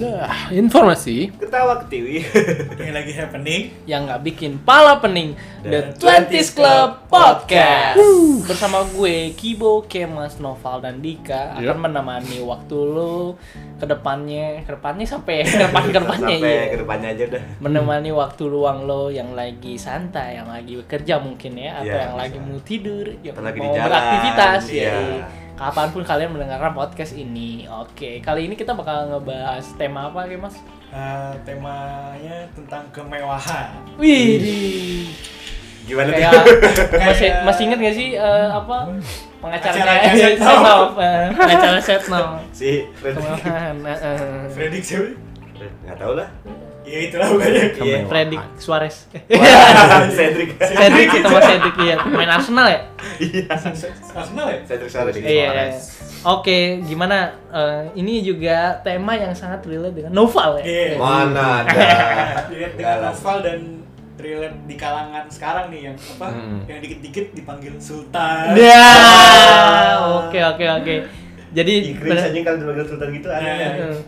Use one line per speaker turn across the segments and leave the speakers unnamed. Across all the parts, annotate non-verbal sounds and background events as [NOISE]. Dah, informasi
Ketawa
[LAUGHS]
ke TV.
Yang lagi happening.
yang nggak bikin pala pening The
The
20s Club Podcast
Woo.
bersama gue Kibo, Kemas, Noval dan Dika akan
Yep.
menemani waktu lo ke depannya, ke depannya
[LAUGHS]
sampai ke depan ke depannya
Sampai
iya.
ke depannya aja dah.
menemani waktu luang lo yang lagi santai, yang lagi bekerja mungkin ya, atau
Iya,
yang
bisa.
lagi mau tidur, yang
Atau lagi di
mau
jalan,
beraktivitas
iya.
ya. Kapanpun kalian mendengarkan podcast ini, oke. Kali ini kita bakal ngebahas tema apa, Kemas?
Eh, temanya tentang kemewahan.
Wih,
Gimana
kayak
tuh?
masih masih inget gak sih eh, apa pengacara
Acaranya
kayak
Setnov.
[LAUGHS] Setnov, eh, pengacara Setnov
Si Fred.
Kemarin, eh, eh.
Fredrik siapa?
Nggak tahu lah.
Ya itulah bukannya.
Iya.
Fredrik Suarez [LAUGHS]
Wah, [LAUGHS] Cedric.
Cedric kita sama Cedric iya main Arsenal ya
Iya.
Arsenal ya?
Cedric Suarez.
iya iya. oke gimana eh, ini juga tema yang sangat relate dengan novel ya
Iya.
[LAUGHS] Mana ada?
Dilihat
Nggak
dengan
lah.
novel dan relate di kalangan sekarang nih yang apa?
Hmm.
Mm-mm.
Yang dikit-dikit dipanggil Sultan.
Ya,
Ah.
oke oke oke jadi
Inggris aja kalau dipanggil sultan gitu ada.
Iya.
eh,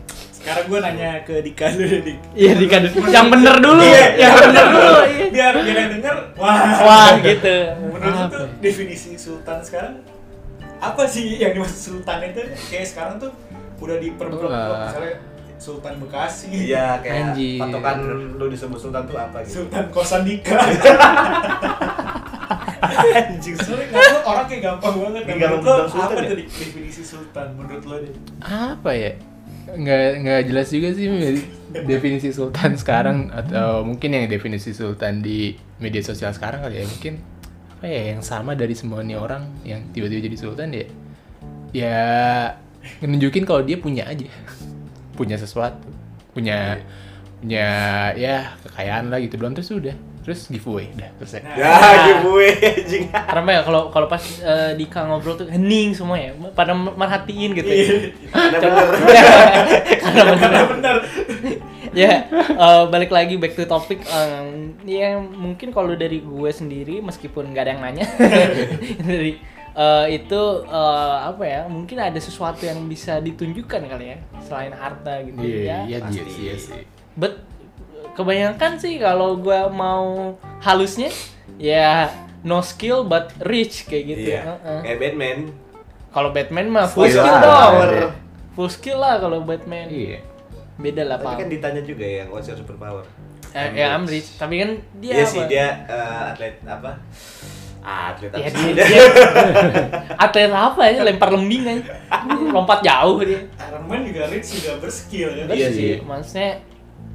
Sekarang gue nanya ke Dika dulu Dik.
Iya di yang bener dulu,
Iya,
yang bener dulu. iya.
Biar biar yang denger wah.
Wah gitu.
Menurut lu tuh definisi sultan sekarang apa sih yang dimaksud sultan itu? Kayak sekarang tuh udah diperbudak
Wah.
misalnya Sultan Bekasi,
Iya, kayak
Anjir.
patokan lu disebut sultan tuh apa gitu.
Sultan Kosandika.
Anjing.
Sorry, nggak tahu orang kayak gampang banget.
Ini
Menurut
gampang
lo
bilang sultan
apa
ya?
tuh di- definisi sultan menurut lo deh?
apa ya nggak nggak jelas juga sih me- definisi sultan sekarang atau mungkin yang definisi sultan di media sosial sekarang kali ya mungkin apa ya yang sama dari semua nih orang yang tiba-tiba jadi sultan ya ya nunjukin kalau dia punya aja punya sesuatu punya punya ya kekayaan lah gitu doang terus udah terus giveaway dah terus ya.
Ya,
Iya.
giveaway anjing.
Karena ya kalau kalau pas eh, Dika ngobrol tuh hening semua ya, pada merhatiin gitu. Ya.
Karena
[LAUGHS] Coba-
Iya.
Iya.
bener.
Karena bener.
Karena [LAUGHS] benar.
Ya, eh, balik lagi back to topic. eh, ya mungkin kalau dari gue sendiri, meskipun nggak ada yang nanya, [LAUGHS] dari eh, itu eh, apa ya? Mungkin ada sesuatu yang bisa ditunjukkan kali ya, selain harta gitu
iya iya
ya.
Pasti.
iya sih, iya sih
Bet kebanyakan sih kalau gua mau halusnya ya no skill but rich kayak gitu.
Iya.
Heeh.
Kayak Batman.
Kalau Batman mah full
Skill
skill,
lah,
dong.
iya.
Full skill lah kalau Batman.
iya
Beda lah
Tapi
Pak.
kan ditanya juga yang what's your superpower?
Eh, ya I'm rich, tapi kan dia
Iya sih
apa?
dia eh, atlet apa? Ah, atlet apa?
Ya,
sih?
dia, dia
[LAUGHS]
atlet apa ya lempar lembing aja. Lompat jauh dia.
Iron Man juga rich juga berskill ya.
Iya sih.
Maksudnya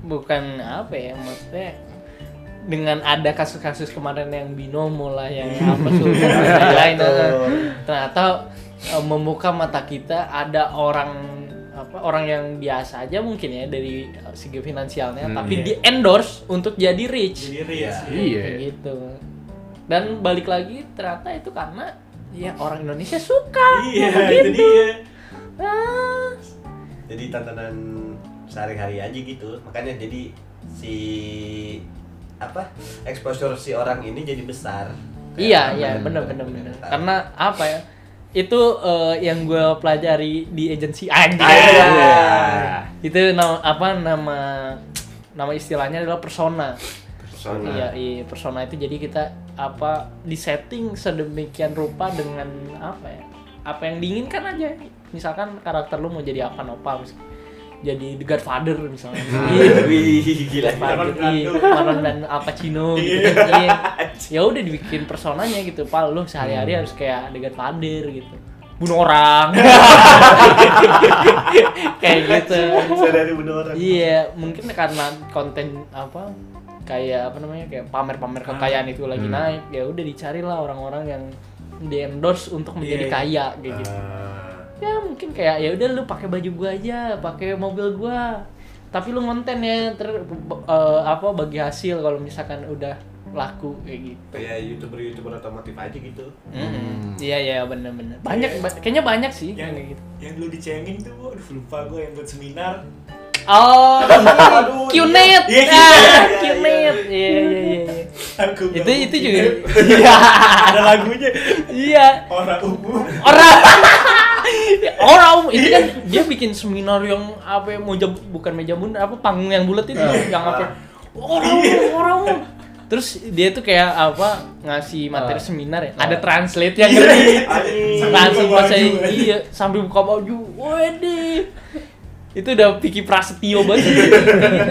bukan apa ya, maksudnya dengan ada kasus-kasus kemarin yang binomo lah yang apa tuh yang lain-lain eh, ternyata eh, membuka mata kita ada orang apa orang yang biasa aja mungkin ya dari eh, segi finansialnya
Hmm.
tapi
Iya.
di endorse untuk jadi rich
Jadi rich.
Iya.
Kayak gitu dan balik lagi ternyata itu karena ya orang Indonesia suka
Iya, itu
begitu.
dia.
Ah.
jadi tantangan sehari-hari aja gitu makanya jadi si apa exposure si orang ini jadi besar Kayak
Iya,
orang
iya,
yang
bener, bener, bener.
tahu.
Karena apa ya? Itu eh, yang gue pelajari di agensi
Iya.
aja. Itu nama apa nama nama istilahnya adalah persona.
persona
Iya, iya, persona itu jadi kita apa di setting sedemikian rupa dengan apa ya? Apa yang diinginkan aja. Misalkan karakter lu mau jadi apa nopal misalkan. Jadi The Godfather misalnya.
Hmm.
Iya.
Wih, gila
Marlon
gila
Marlon
Brando,
Brando.
Marlon dan apa Cino gitu. [LAUGHS] Iya. ya udah dibikin personanya gitu, pal lu sehari-hari harus kayak adegan pader gitu. Bunuh [LAUGHS] orang. kayak gitu.
bisa dari bener orang
Iya, mungkin karena konten apa kayak apa namanya kayak pamer-pamer
Ah.
kekayaan itu lagi
Hmm.
naik, ya udah dicarilah orang-orang yang di endorse untuk
Iya.
menjadi
Ah.
kaya kayak gitu ya mungkin kayak ya udah lu pakai baju gua aja pakai mobil gua tapi lu ngonten ya ter b- eh, apa bagi hasil kalau misalkan udah laku kayak gitu
kayak youtuber youtuber otomotif aja gitu
Mm-mm.
Hmm.
iya iya bener-bener banyak ba- kayaknya banyak sih
Yang
yang kayak gitu
yang dulu dicengin tuh, aduh lupa gue yang buat seminar. [LAUGHS]
oh
Aduh,
Qnet
iya. Iya,
ah
iya,
Qnet iya iya iya iya.
Aku
itu
bangun
itu
Qnet. [LAUGHS]
juga [LAUGHS] iya
ada lagunya. [LAUGHS]
iya
Orang umum.
orang Ya, orang umum. itu kan dia bikin seminar yang apa ya, meja bukan meja bundar apa panggung yang bulat
Ah.
itu yang apa orang orang terus dia tuh kayak apa ngasih materi
Ah. Iya.
seminar ya ada translate yang ngerti langsung pas saya
Iya. baju.
iya sambil buka baju waduh itu udah Vicky Prasetyo banget
[LAUGHS]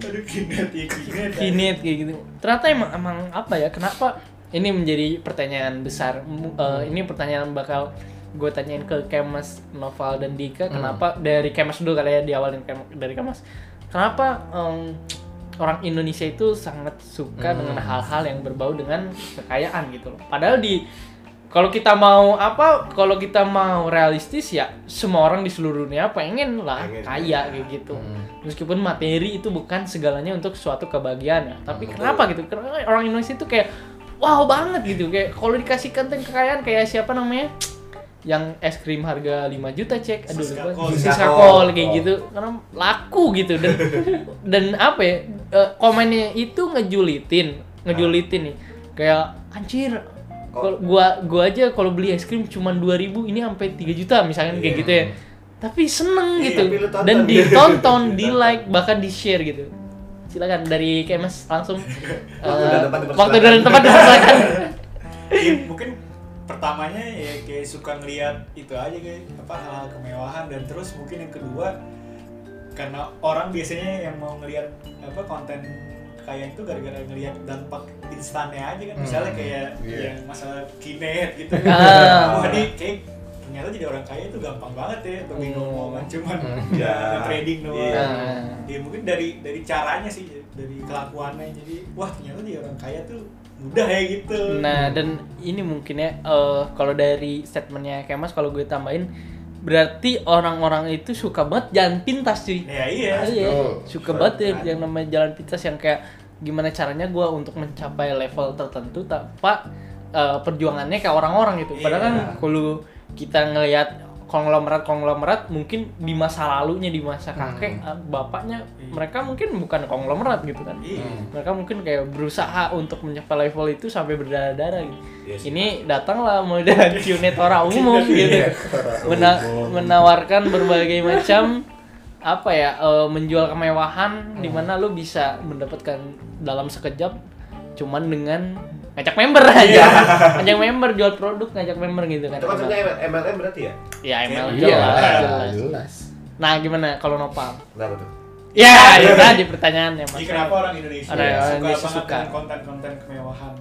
Aduh, kinet ya, kinet.
kinet kayak gitu ternyata emang emang apa ya kenapa ini menjadi pertanyaan besar M- eh, ini pertanyaan bakal gue tanyain ke Kemas Noval dan Dika kenapa dari Kemas dulu kali ya di awal dari Kem- dari Kemas kenapa em, orang Indonesia itu sangat suka dengan hal-hal yang berbau dengan kekayaan gitu loh padahal di kalau kita mau apa kalau kita mau realistis ya semua orang di seluruh dunia pengen lah
Pengen. Hmm.
kaya kayak gitu meskipun materi itu bukan segalanya untuk suatu kebahagiaan ya tapi
Hmm,
kenapa gitu kenapa orang Indonesia itu kayak wow banget gitu kayak kalau dikasih konten kekayaan kayak siapa namanya yang es krim harga 5 juta cek aduh
Siska
lupa
Kol.
Siska
Siska
Kol,
Kol.
kayak gitu karena laku gitu
[LAUGHS]
dan dan apa ya eh, komennya itu ngejulitin ngejulitin nih kayak anjir kalau gua gua aja kalau beli es krim cuman 2000 ini sampai 3 juta misalkan kayak
Iya.
gitu ya tapi seneng
Iya,
gitu
tapi lu tonton.
dan
[LAUGHS]
ditonton di like bahkan di share gitu silakan dari kemas langsung
Waktu dan tempat
eh,
dipersilakan.
waktu dan tempat silakan
[LAUGHS]
Ya, mungkin pertamanya ya kayak suka ngeliat itu aja kayak apa hal-hal kemewahan dan terus mungkin yang kedua karena orang biasanya yang mau ngeliat apa konten kayak itu gara-gara ngeliat dampak instannya aja kan misalnya kayak
Iya.
yang masalah kinet gitu
Ah.
wah ini kayak ternyata jadi orang kaya itu gampang banget ya untuk bingung
Hmm.
ngomongan cuman [LAUGHS] ya,
Iya.
trading doang
Iya.
ya mungkin dari dari caranya sih dari kelakuannya jadi wah ternyata dia orang kaya tuh mudah ya gitu
Nah, dan ini mungkin ya eh, kalau dari statementnya Kemas kalau gue tambahin berarti orang-orang itu suka banget jalan pintas cuy.
ya iya
Ah, iya.
betul.
suka banget ya yang namanya jalan pintas yang kayak gimana caranya gue untuk mencapai level tertentu tanpa eh, perjuangannya kayak orang-orang gitu. Padahal kan
Iya.
kalau kita ngelihat konglomerat-konglomerat mungkin di masa lalunya di masa kakek eh, bapaknya
Hmm. Iya.
mereka mungkin bukan konglomerat gitu kan
iya
mereka mungkin kayak berusaha untuk mencapai level itu sampai berdarah-darah gitu.
Yes.
Ini datanglah model [LAUGHS] unit orang umum gitu. Mena-
umum.
menawarkan berbagai macam apa ya eh, menjual kemewahan di mana lu bisa mendapatkan dalam sekejap cuman dengan ngajak member aja. [LAUGHS] ngajak member jual produk, ngajak member gitu kan.
Iya. Itu maksudnya MLM berarti ya?
Ya ML
Iya,
jelas.
jelas.
Nah, gimana kalau Nopal?
Kenapa tuh? Iya.
Ya, itu tadi pertanyaannya Mas.
jadi kenapa orang Indonesia
Orang
suka
Indonesia
banget
suka.
dengan konten-konten kemewahan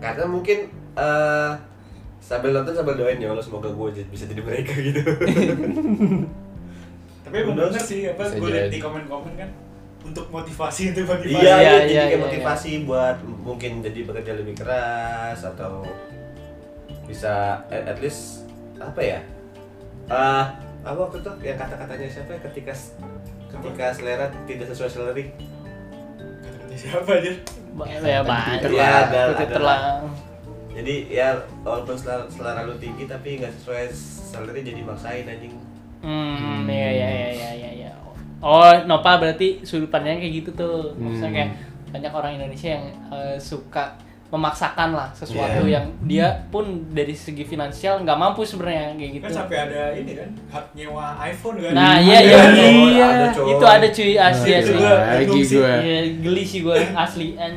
Karena mungkin eh sambil nonton sambil doain ya Allah semoga gue bisa jadi mereka gitu.
tapi emang
Bener.
bener sih apa
Bisa
gue liat
jadi.
di komen-komen kan untuk motivasi itu motivasi
iya,
Iya,
iya,
iya,
jadi kayak
iya,
motivasi buat m- mungkin jadi bekerja lebih keras atau bisa at, at least apa ya? Ah, apa waktu itu yang kata-katanya siapa ya? ketika s- ketika selera tidak sesuai selera
kata-kata siapa aja
Ba- ya, banyak.
Twitter
lah. Iya, Ada,
Twitter
ada.
lah.
jadi ya walaupun selera, selera lu tinggi tapi nggak sesuai selera jadi maksain anjing
Hmm, iya iya iya iya iya. iya. Oh, Nopal berarti sudut pandangnya kayak gitu tuh. Maksudnya
Hmm.
kayak banyak orang Indonesia yang eh, suka memaksakan lah sesuatu yang dia pun dari segi finansial nggak mampu sebenarnya kayak gitu.
kan sampai ada ini kan hak nyewa iPhone kan
Nah, iya iya
Ada,
iya.
coy. Ada, coy.
Itu ada cuy
Nah,
asli
Iya,
asli.
gua
Lagi
dukung sih.
gue.
Iya, geli sih gue asli an.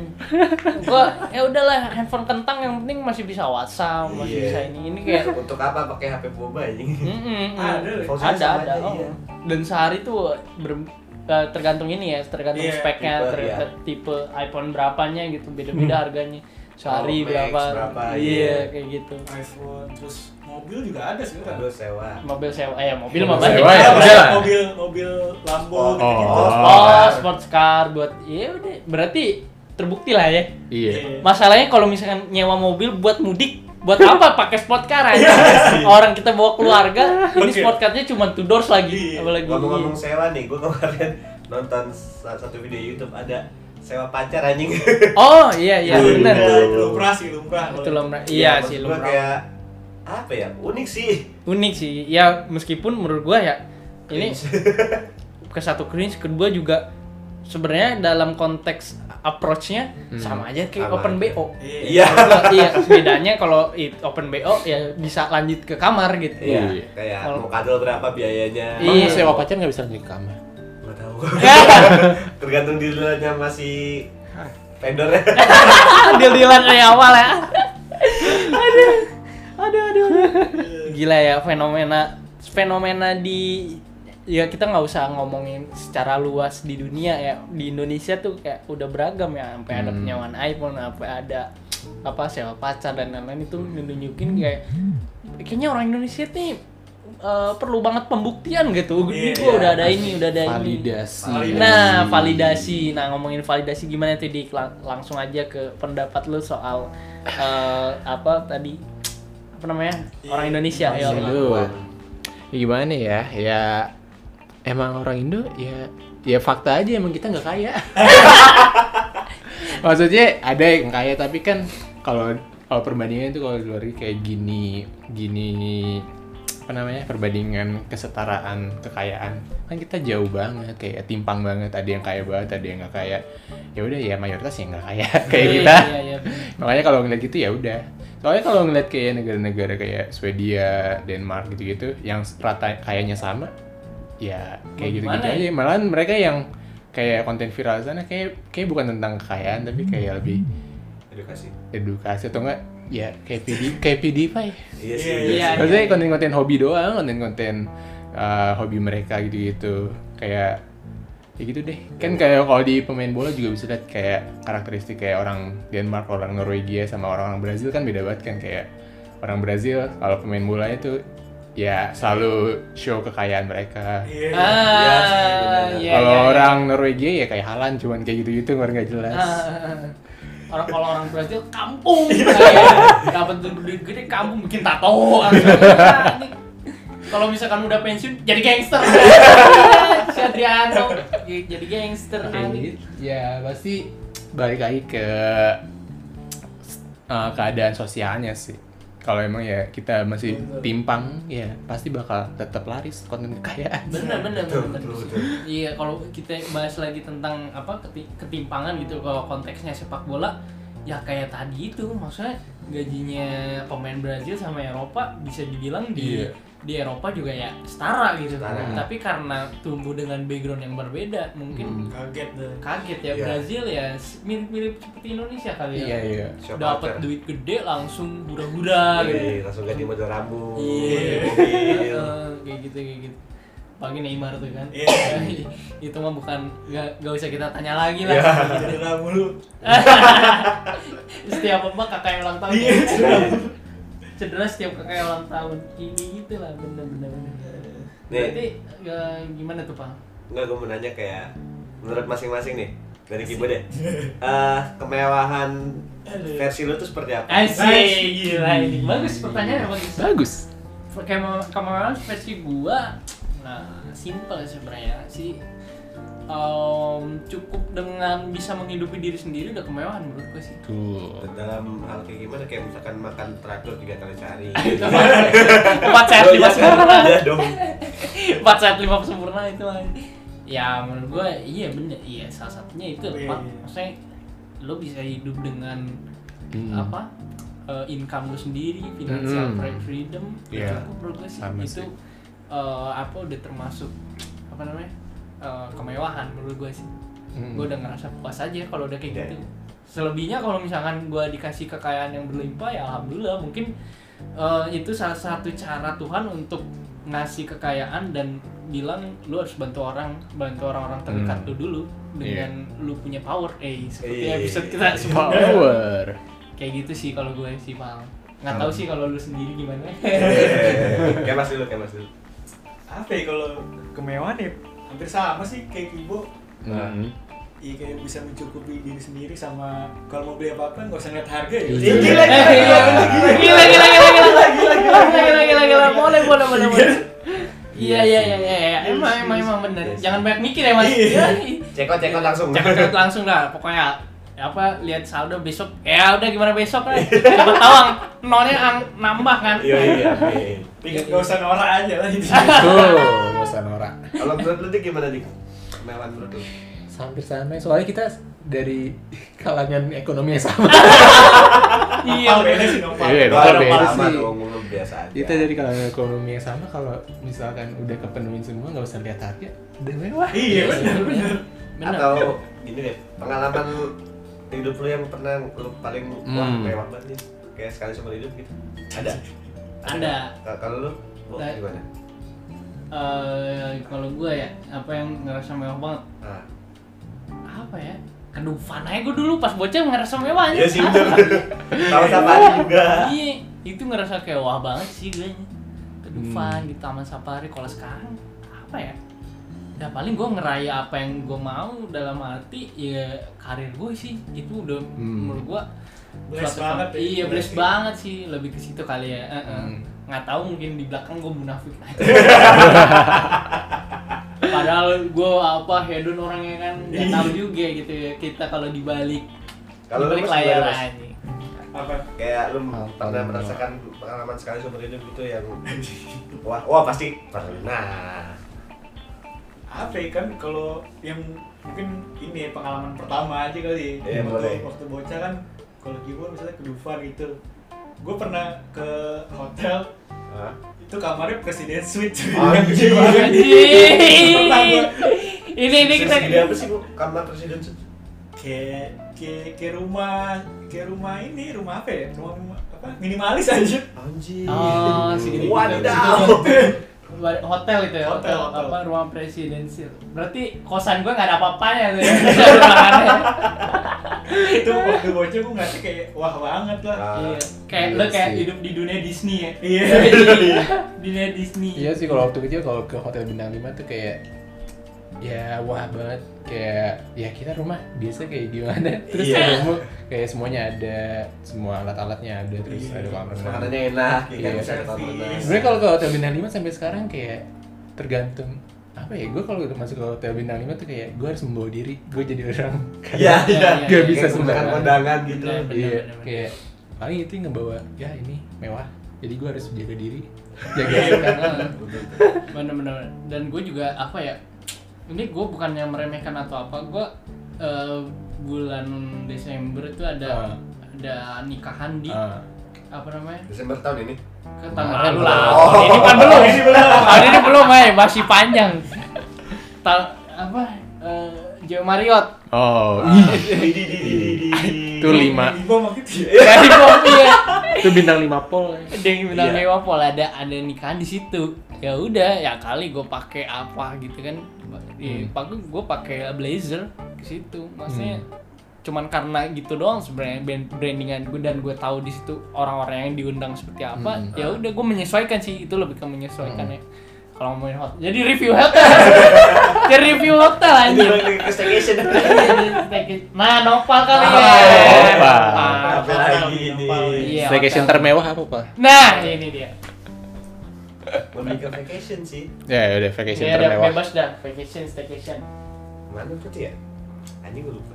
Gua ya udahlah handphone kentang yang penting masih bisa WhatsApp, masih
Iya.
bisa ini. Ini kayak
untuk apa pakai HP boba anjing
[LAUGHS] Mm, mm, mm.
Ada,
Kalau saya
ada,
sama
ada.
aja,
oh.
iya.
Dan sehari tuh ber- eh, tergantung ini ya, tergantung
Iya,
speknya,
tipe,
ter-
iya.
ter- tipe iPhone berapanya gitu, beda-beda harganya. Sehari
Power max
berapa?
berapa,
iya,
iya.
kayak gitu.
iPhone terus mobil juga ada sih kan
lu sewa
Mobil sewa, eh mobil
Mobil
mah banyak.
sewa ya,
Ada.
udah lah.
mobil mobil Lambo
Oh.
gitu-gitu
Oh.
Oh, sports car buat, iya udah. Berarti terbukti lah ya.
Iya.
Masalahnya kalau misalkan nyewa mobil buat mudik, buat apa pakai sport car
Iya,
aja? Orang kita bawa keluarga, ini
Oke.
sport car-nya cuma two doors
Iya.
lagi. Apalagi
ngomong-ngomong sewa nih gue kemarin [LAUGHS] nonton sa- satu video YouTube ada sewa pacar anjing
Oh, iya iya
Iya.
benar.
Iya, itu lumrah sih lumrah
Itu lumrah. [LAUGHS] Iya sih
maksud gua
lumrah.
kayak apa ya unik sih
Unik sih. [LAUGHS] Ya meskipun menurut gua ya ini ke satu cringe, kedua juga sebenarnya dalam konteks approach-nya sama aja kayak
Sama
open
aja.
BO.
Iya.
Kalau- iya, bedanya kalau i- open BO ya bisa lanjut ke kamar gitu.
Iya,
Iya.
kayak
Kalau-
mau kadal berapa biayanya?
Emang
Iya.
sewa pacar nggak bisa lanjut ke kamar?
Nggak
[LAUGHS]
tahu. Tergantung dealernya masih
[LAUGHS]
vendornya.
Deal-dealan dari awal ya. Aduh. Aduh, aduh, aduh. Gila ya fenomena fenomena di ya kita nggak usah ngomongin secara luas di dunia ya di Indonesia tuh kayak udah beragam ya sampai ada
Hmm.
penyewaan iPhone sampai ada apa sewa pacar dan lain-lain itu nunjukin kayak kayaknya orang Indonesia nih eh, perlu banget pembuktian
Iya,
gitu Ini gua
iya,
udah ada ini udah ada ini
Validasi.
Nah, validasi. Nah, ngomongin validasi gimana tuh Dik? Lang- langsung aja ke pendapat lu soal eh, apa tadi? Apa namanya? Orang Indonesia ya.
Aduh. Iya, Ya gimana ya? Ya emang orang Indo ya ya fakta aja emang kita nggak
[LAUGHS]
kaya. Maksudnya ada yang kaya tapi kan kalau kalau perbandingan itu kalau di luar negeri kayak gini gini apa namanya perbandingan kesetaraan kekayaan kan kita jauh banget kayak timpang banget ada yang kaya banget ada yang nggak kaya ya udah ya mayoritas yang nggak kaya [LAUGHS] kayak
Iya,
kita
iya, iya.
makanya kalau ngeliat gitu ya udah soalnya kalau ngeliat kayak negara-negara kayak Swedia Denmark gitu-gitu yang rata kayaknya sama ya kayak
Mau
gitu gitu
gimana
aja malahan mereka yang kayak konten viral di sana kayak kayak bukan tentang kekayaan tapi kayak lebih
Hmm.
Edukasi.
edukasi atau enggak ya kayak PD kayak PewDiePie.
Iya sih.
Iya,
iya.
maksudnya konten-konten hobi doang konten-konten uh, hobi mereka gitu-gitu kayak ya gitu deh kan kayak kalau di pemain bola juga bisa lihat kayak karakteristik kayak orang Denmark orang Norwegia sama orang-orang Brazil kan beda banget kan kayak orang Brazil kalau pemain bola itu ya selalu show kekayaan mereka
Iya.
Ah,
Iya,
iya,
kalau
iya, iya.
orang Norwegia ya kayak Halan cuman kayak gitu-gitu nggak nggak jelas
Ah, orang kalau orang Brazil
[LAUGHS]
kampung kayak dapat duit gede-gede kampung bikin tato langsung. Ah, ini. kalau misalkan udah pensiun jadi
[LAUGHS]
gangster si Adriano jadi gangster
Kayak
ah.
gitu. ya pasti balik lagi ke uh, keadaan sosialnya sih kalau emang ya kita masih
Betul.
timpang ya pasti bakal tetap laris konten kekayaan
bener bener
Betul,
bener.
betul, betul.
iya kalau kita bahas lagi tentang apa keti- ketimpangan gitu kalau konteksnya sepak bola ya kayak tadi itu maksudnya gajinya pemain Brazil sama Eropa bisa dibilang di
Iya.
di Eropa juga ya setara gitu
Setara.
tapi karena tumbuh dengan background yang berbeda mungkin
Kaget deh.
kaget ya
Hmm. Iya.
Brazil ya s- mirip-mirip seperti Indonesia kali ya
iya iya
Shop
dapat
culture.
duit gede langsung hura-hura gitu
Iya, langsung ganti model rambut.
Iya. [LAUGHS]
mobil.
Heeh, kayak gitu kayak gitu. Pagi Neymar tuh kan.
Iya.
[LAUGHS]
Iya.
itu mah bukan nggak nggak usah kita tanya lagi lah.
Jadi lah mulu.
setiap apa kakak yang ulang tahun.
Iya,
ya.
cedera.
Cedera setiap kakak yang ulang tahun. Ini gitu lah bener bener. bener.
Nih.
Berarti eh, gimana tuh Pak?
Enggak, gue mau nanya kayak menurut masing-masing nih dari Kibo deh. Eh, kemewahan versi lu tuh seperti apa?
Asik, gila ini. Bagus pertanyaannya bagus.
bagus
kayak kemarin versi gua nah simple sebenarnya sih Em, cukup dengan bisa menghidupi diri sendiri udah kemewahan menurut gua sih
tuh
Dalam hal kayak gimana? Kayak misalkan makan teratur tiga kali sehari.
empat sehat
Lo
lima
iya kan?
sempurna
Iya dong. [LAUGHS]
empat sehat lima sempurna itu lah ya menurut gua iya bener iya salah satunya itu
Iya,
Pak.
iya.
maksudnya lo bisa hidup dengan
Hmm.
apa eh, income lo sendiri financial
Hmm.
freedom
Iya.
itu progres
Sama
itu
sih.
eh, apa udah termasuk apa namanya eh, kemewahan menurut gue sih
Hmm.
gue udah ngerasa puas aja kalau udah kayak
Iya,
gitu selebihnya kalau misalkan gue dikasih kekayaan yang berlimpah ya alhamdulillah mungkin eh, itu salah satu cara Tuhan untuk ngasih kekayaan dan bilang lu harus bantu orang bantu orang-orang terdekat
Hmm.
lu dulu
Iya.
dengan lu punya power eh seperti
Iya.
episode kita sebelumnya
power
kayak gitu sih kalau gue sih mal nggak tahu sih kalau lu sendiri gimana
[LAUGHS] Kayak mas dulu, kayak mas dulu.
Apa ya kalau kemewahan ya hampir sama sih kayak Kibo.
Hmm.
Iya kayak bisa mencukupi diri sendiri sama kalau mau beli apa-apa nggak usah ngeliat harga ya.
Iya.
Gila, gila, gila, gila, gila.
gila gila gila gila gila gila gila gila gila boleh boleh boleh boleh iya iya iya iya iya. emang emang emang bener jangan banyak mikir ya mas
Iya.
Cekot, cekot langsung.
cekot langsung dah pokoknya ya apa lihat saldo besok ya udah gimana besok lah siapa tahu ang- nolnya ang- nambah kan
Iya iya. iya.
Pikir nggak usah norak aja lah ini.
tuh nggak usah norak
Kalau menurut lu Dik, gimana dik? Kemewahan menurut lu?
hampir sama soalnya kita dari kalangan ekonomi yang sama
Iya, beda sih Nopal.
Iya,
Gua
Nopal
ada
beda
pengalaman
sih.
dong, lu biasa aja.
[LAUGHS] kita dari kalangan ekonomi yang sama kalau misalkan udah kepenuhin semua nggak usah lihat harga udah mewah
Iya, benar benar.
Benar. [LAUGHS]
Atau gini deh, pengalaman hidup lu yang pernah lu paling wah
Hmm.
mewah banget nih. Kayak sekali seumur hidup gitu. Ada.
Ada.
Ka- Kalau lu, lu
Ada.
gimana?
Eh, kalau gue ya apa yang ngerasa mewah banget
Ah.
apa ya kedufan aja gue dulu pas bocah ngerasa mewah aja
Iya sih bener. Sama-sama juga.
iya itu ngerasa kayak wah banget sih gue
Hmm.
kedufan di taman safari kalau sekarang apa ya ya paling gue ngeraya apa yang gue mau dalam arti ya karir gue sih itu udah
Hmm.
menurut gue
Blessed
suatu-
banget ya.
iya
Blessed.
blessed banget sih lebih ke situ kali ya eh, eh.
Hmm.
nggak tahu mungkin di belakang gue munafik
[LAUGHS]
aja padahal gue apa hedon orangnya kan nggak tahu juga gitu ya kita kalau dibalik
Iya. Kalau lu
dibalik
Mas, gimana,
layar
Mas?
aja
Apa?
kayak lu
Hal
pernah
paling
merasakan pengalaman sekali seumur hidup gitu yang wah wah pasti pernah
Apa ya kan kalau yang mungkin ini ya, pengalaman pertama aja kali. ya
Iya,
waktu,
boleh.
waktu bocah kan kalau gue misalnya ke Dufan gitu. Gue pernah ke hotel
Hah?
itu kamarnya presiden suite cuy.
Anjing.
yang gede banget. Pernah
Anjing.
gua
ini ini kita
Terus gede apa sih bu kamar presiden tuh?
kayak kayak kayak rumah kayak rumah ini rumah apa ya rumah, rumah apa minimalis aja [LAUGHS]
anjing
Oh, si gede-gede.
wadidaw
hotel itu ya
Hotel, hotel.
apa ruang presidensial berarti kosan gue nggak ada apa-apanya tuh ya [LAUGHS] ruangannya.
itu waktu bocah gue ngerasa kayak wah banget lah
iya
Ah,
kayak
Iya
lo kayak
sih.
hidup di dunia Disney ya
[LAUGHS] Iya.
dunia Disney
Iya sih kalau waktu kecil kalau ke hotel bintang 5 tuh kayak ya wah banget kayak ya kita rumah biasa kayak gimana [LAUGHS] terus
Iya.
ketemu kayak semuanya ada semua alat-alatnya ada terus
Iya.
ada kamar
terus
mandi.
makanannya enak ya kan
Iya.
bisa ada kamar renang.
Sebenarnya kalau ke hotel bintang 5 sampai sekarang kayak tergantung apa ya gue kalau udah masuk ke hotel bintang 5 tuh kayak gue harus membawa diri gue jadi [LAUGHS] orang
iya iya
Iya,
gak
iya,
bisa
Kayak makan
sembarangan
kondangan gitu
Iya. Bener,
iya
bener, bener.
kayak paling itu yang ngebawa ya ini mewah jadi gue harus jaga [LAUGHS] diri jaga kan.
Iya,
sikap
bener. bener bener dan gue juga apa ya ini gue bukannya meremehkan atau apa gue eh, bulan Desember itu
Ah.
ada ada nikahan di
Ah.
apa namanya
Desember tahun ini
ke tahun
Kemarin
lalu lah
belum.
Tahun ini kan belum
Tahun ini [LAUGHS] belum.
tahun ini belum eh masih panjang tahun apa eh, Jo Marriott
Oh,
di di di di di
Itu lima. Iya,
lima maksudnya
dari kopi ya
itu bintang 5 pol.
dia bilang
Iya.
dewa pol ada ada nikahan di situ ya udah ya kali gue pakai apa gitu kan di
Hmm.
gue pakai blazer ke situ maksudnya cuman karena gitu doang sebenarnya brand brandingan gue dan gue tahu di situ orang-orang yang diundang seperti apa
Hmm.
ya udah gue menyesuaikan sih itu lebih ke menyesuaikan ya kalau ngomongin hotel jadi review hotel [LAUGHS] jadi review hotel
[LAUGHS]
ini
anjir
lagi ke staycation
nah nopal kali ya
Nopal.
Nopal.
apa lagi ini
Nopal.
Iya,
Staycation
hotel.
termewah apa, Pak?
nah ini dia
lebih ke vacation sih
Ya, udah vacation
Iya, ada
termewah.
bebas dah, vacation, staycation.
mana tuh ya anjing gue lupa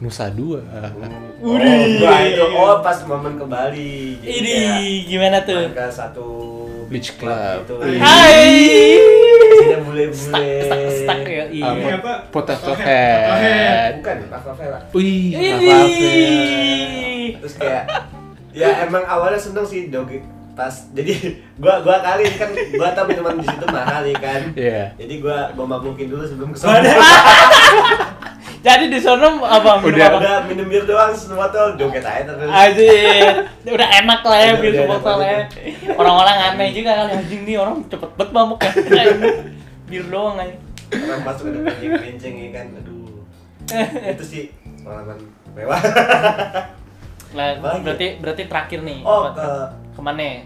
Nusa dua.
Oh, gua itu oh pas momen ke Bali. Jadi
Ini
kayak
gimana tuh?
main ke satu
Beach
Gitu.
club.
Hai.
Isinya bule-bule.
Stuck, stuck, stuck ya.
Ini
Iya.
apa?
Potato
Potato
head.
Bukan, Rafael lah.
Wih, ya?
Ini.
Terus kayak ya emang awalnya seneng sih dogi pas jadi [LAUGHS] gua gua kali kan gua tau minuman di situ mahal ya kan.
Iya.
Jadi gua gua mabukin dulu sebelum ke
Padahal.
sana.
Jadi di sono apa minum
Udah.
apa?
Udah minum bir doang semua tuh joget aja terus.
Anjir, udah enak lah ya
Udah,
minum
udah enak
botol ya. Orang-orang aneh juga kali anjing nih orang cepet banget mabuk ya. Bir doang aja.
Orang masuk ada kencing-kencing ya kan. Aduh. Itu sih pengalaman
[LAUGHS]
mewah.
Nah,
Apalagi ya?
berarti berarti terakhir nih.
Oh,
Apa-
ke
kemana? ya?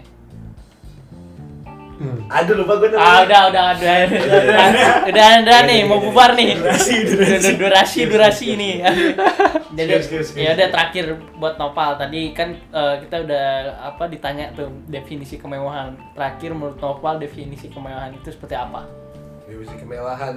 Hmm.
Aduh lupa gue
Ah udah udah udah udah udah, udah, udah nih mau bubar nih
Durasi,
durasi durasi durasi ini jadi
Skip, skip, skip.
ya udah terakhir buat Nopal tadi kan eh, kita udah apa ditanya tuh definisi kemewahan terakhir menurut Nopal definisi kemewahan itu seperti [LAUGHS] apa
Definisi Iya, kemewahan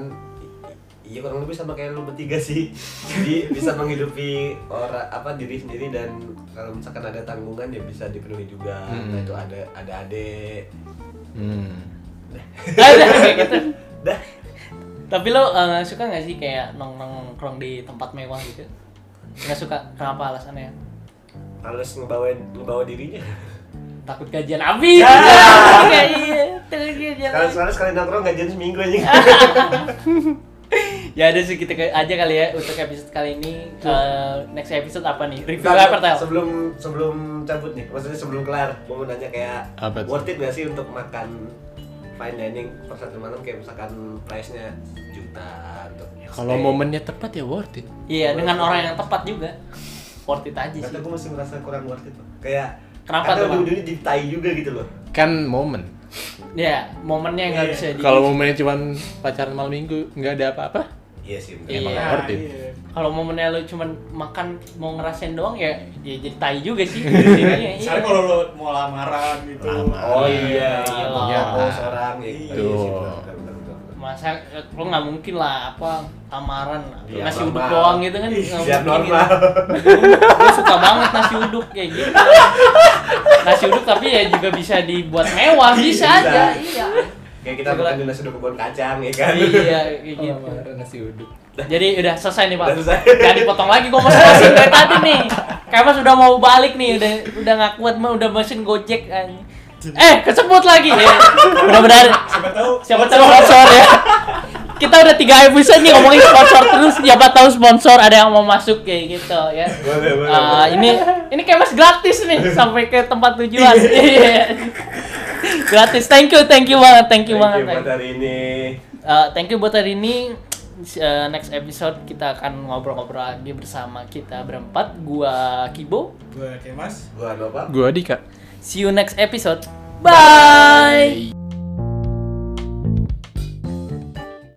i- iya kurang lebih sama kayak lu bertiga sih jadi bisa menghidupi orang apa diri sendiri dan kalau misalkan ada tanggungan ya bisa dipenuhi juga
Hmm.
nah itu ada ada adek
Hmm.
Nah, udah, kayak gitu
dah
Tapi lo eh, suka nggak sih kayak nongkrong nongkrong di tempat mewah gitu? Nggak suka? Kenapa alasannya?
Males ngebawa ngebawa dirinya.
Takut gajian habis.
Ya.
Iya, iya. Takut gajian
Kalau
habis.
soalnya sekali nongkrong gajian seminggu aja.
[LAUGHS]
[LAUGHS] Ya ada segitu ke- aja kali ya untuk episode kali ini. Eh, next episode apa nih? Review
Sebelum-
apa Tel?
Nah, Sebelum sebelum cabut nih, maksudnya sebelum kelar, gue mau nanya kayak
Apa tuh?
worth it gak sih untuk makan fine dining per satu malam kayak misalkan price-nya juta untuk
Kalau
stay.
momennya tepat ya worth it.
Iya dengan orang yang tepat juga. Worth it aja
Tapi
sih.
gue masih merasa kurang worth it. Bang. Kayak
Kenapa tuh,
karena
Bang?
ujung-ujungnya di Thai juga gitu loh.
Kan momen.
Ya momennya yang nggak
Iya.
bisa di.
Kalau momennya cuma pacaran malam minggu nggak ada apa-apa.
Iya sih. bener.
Iya.
Emang nggak
Nah,
worth it.
iya.
Kalau momennya lo cuman makan mau ngerasain doang ya, ya jadi tai juga
[LAUGHS]
sih. Iya.
Misalnya kalau lo mau lamaran gitu.
Lamaran.
Oh iya.
Iya.
Iya. Oh seorang ya.
Iya.
Iya sih,
Tuh.
bener, bener, bener, bener.
masa eh, lo nggak mungkin lah apa tamaran
Iya,
nasi
normal. Iya,
uduk doang gitu kan nggak
Siap
mungkin
normal.
gue suka banget nasi uduk kayak
[LAUGHS]
gitu nasi uduk tapi ya juga bisa dibuat mewah bisa,
Bisa.
aja iya
Kayak kita
Segala-
makan di nasi kebun kacang ya kan.
iya kayak gitu
nasi uduk.
[LAUGHS] jadi udah selesai nih pak
Udah selesai.
jangan dipotong lagi gue mau closing dari tadi nih kamu sudah mau balik nih udah udah nggak kuat mah udah mesin gojek anjing. eh kesebut [LAUGHS] lagi ya mudah-mudahan
Siapa tahu
Siapa tahu sponsor ya. Kita udah tiga episode nih ngomongin sponsor terus siapa tahu sponsor ada yang mau masuk kayak gitu ya.
[LAUGHS] Boleh, boleh,
Ah,
boleh.
ini ini kemas gratis nih sampai ke tempat tujuan. [LAUGHS] Iya. gratis. Thank you, thank you banget, thank you
Thank
banget.
you buat hari ini.
Eh, thank you buat hari ini. Eh, next episode kita akan ngobrol-ngobrol lagi bersama kita berempat. Gua Kibo.
Gue Kemas.
Gua lupa.
Gua Dika.
See you next episode. Bye.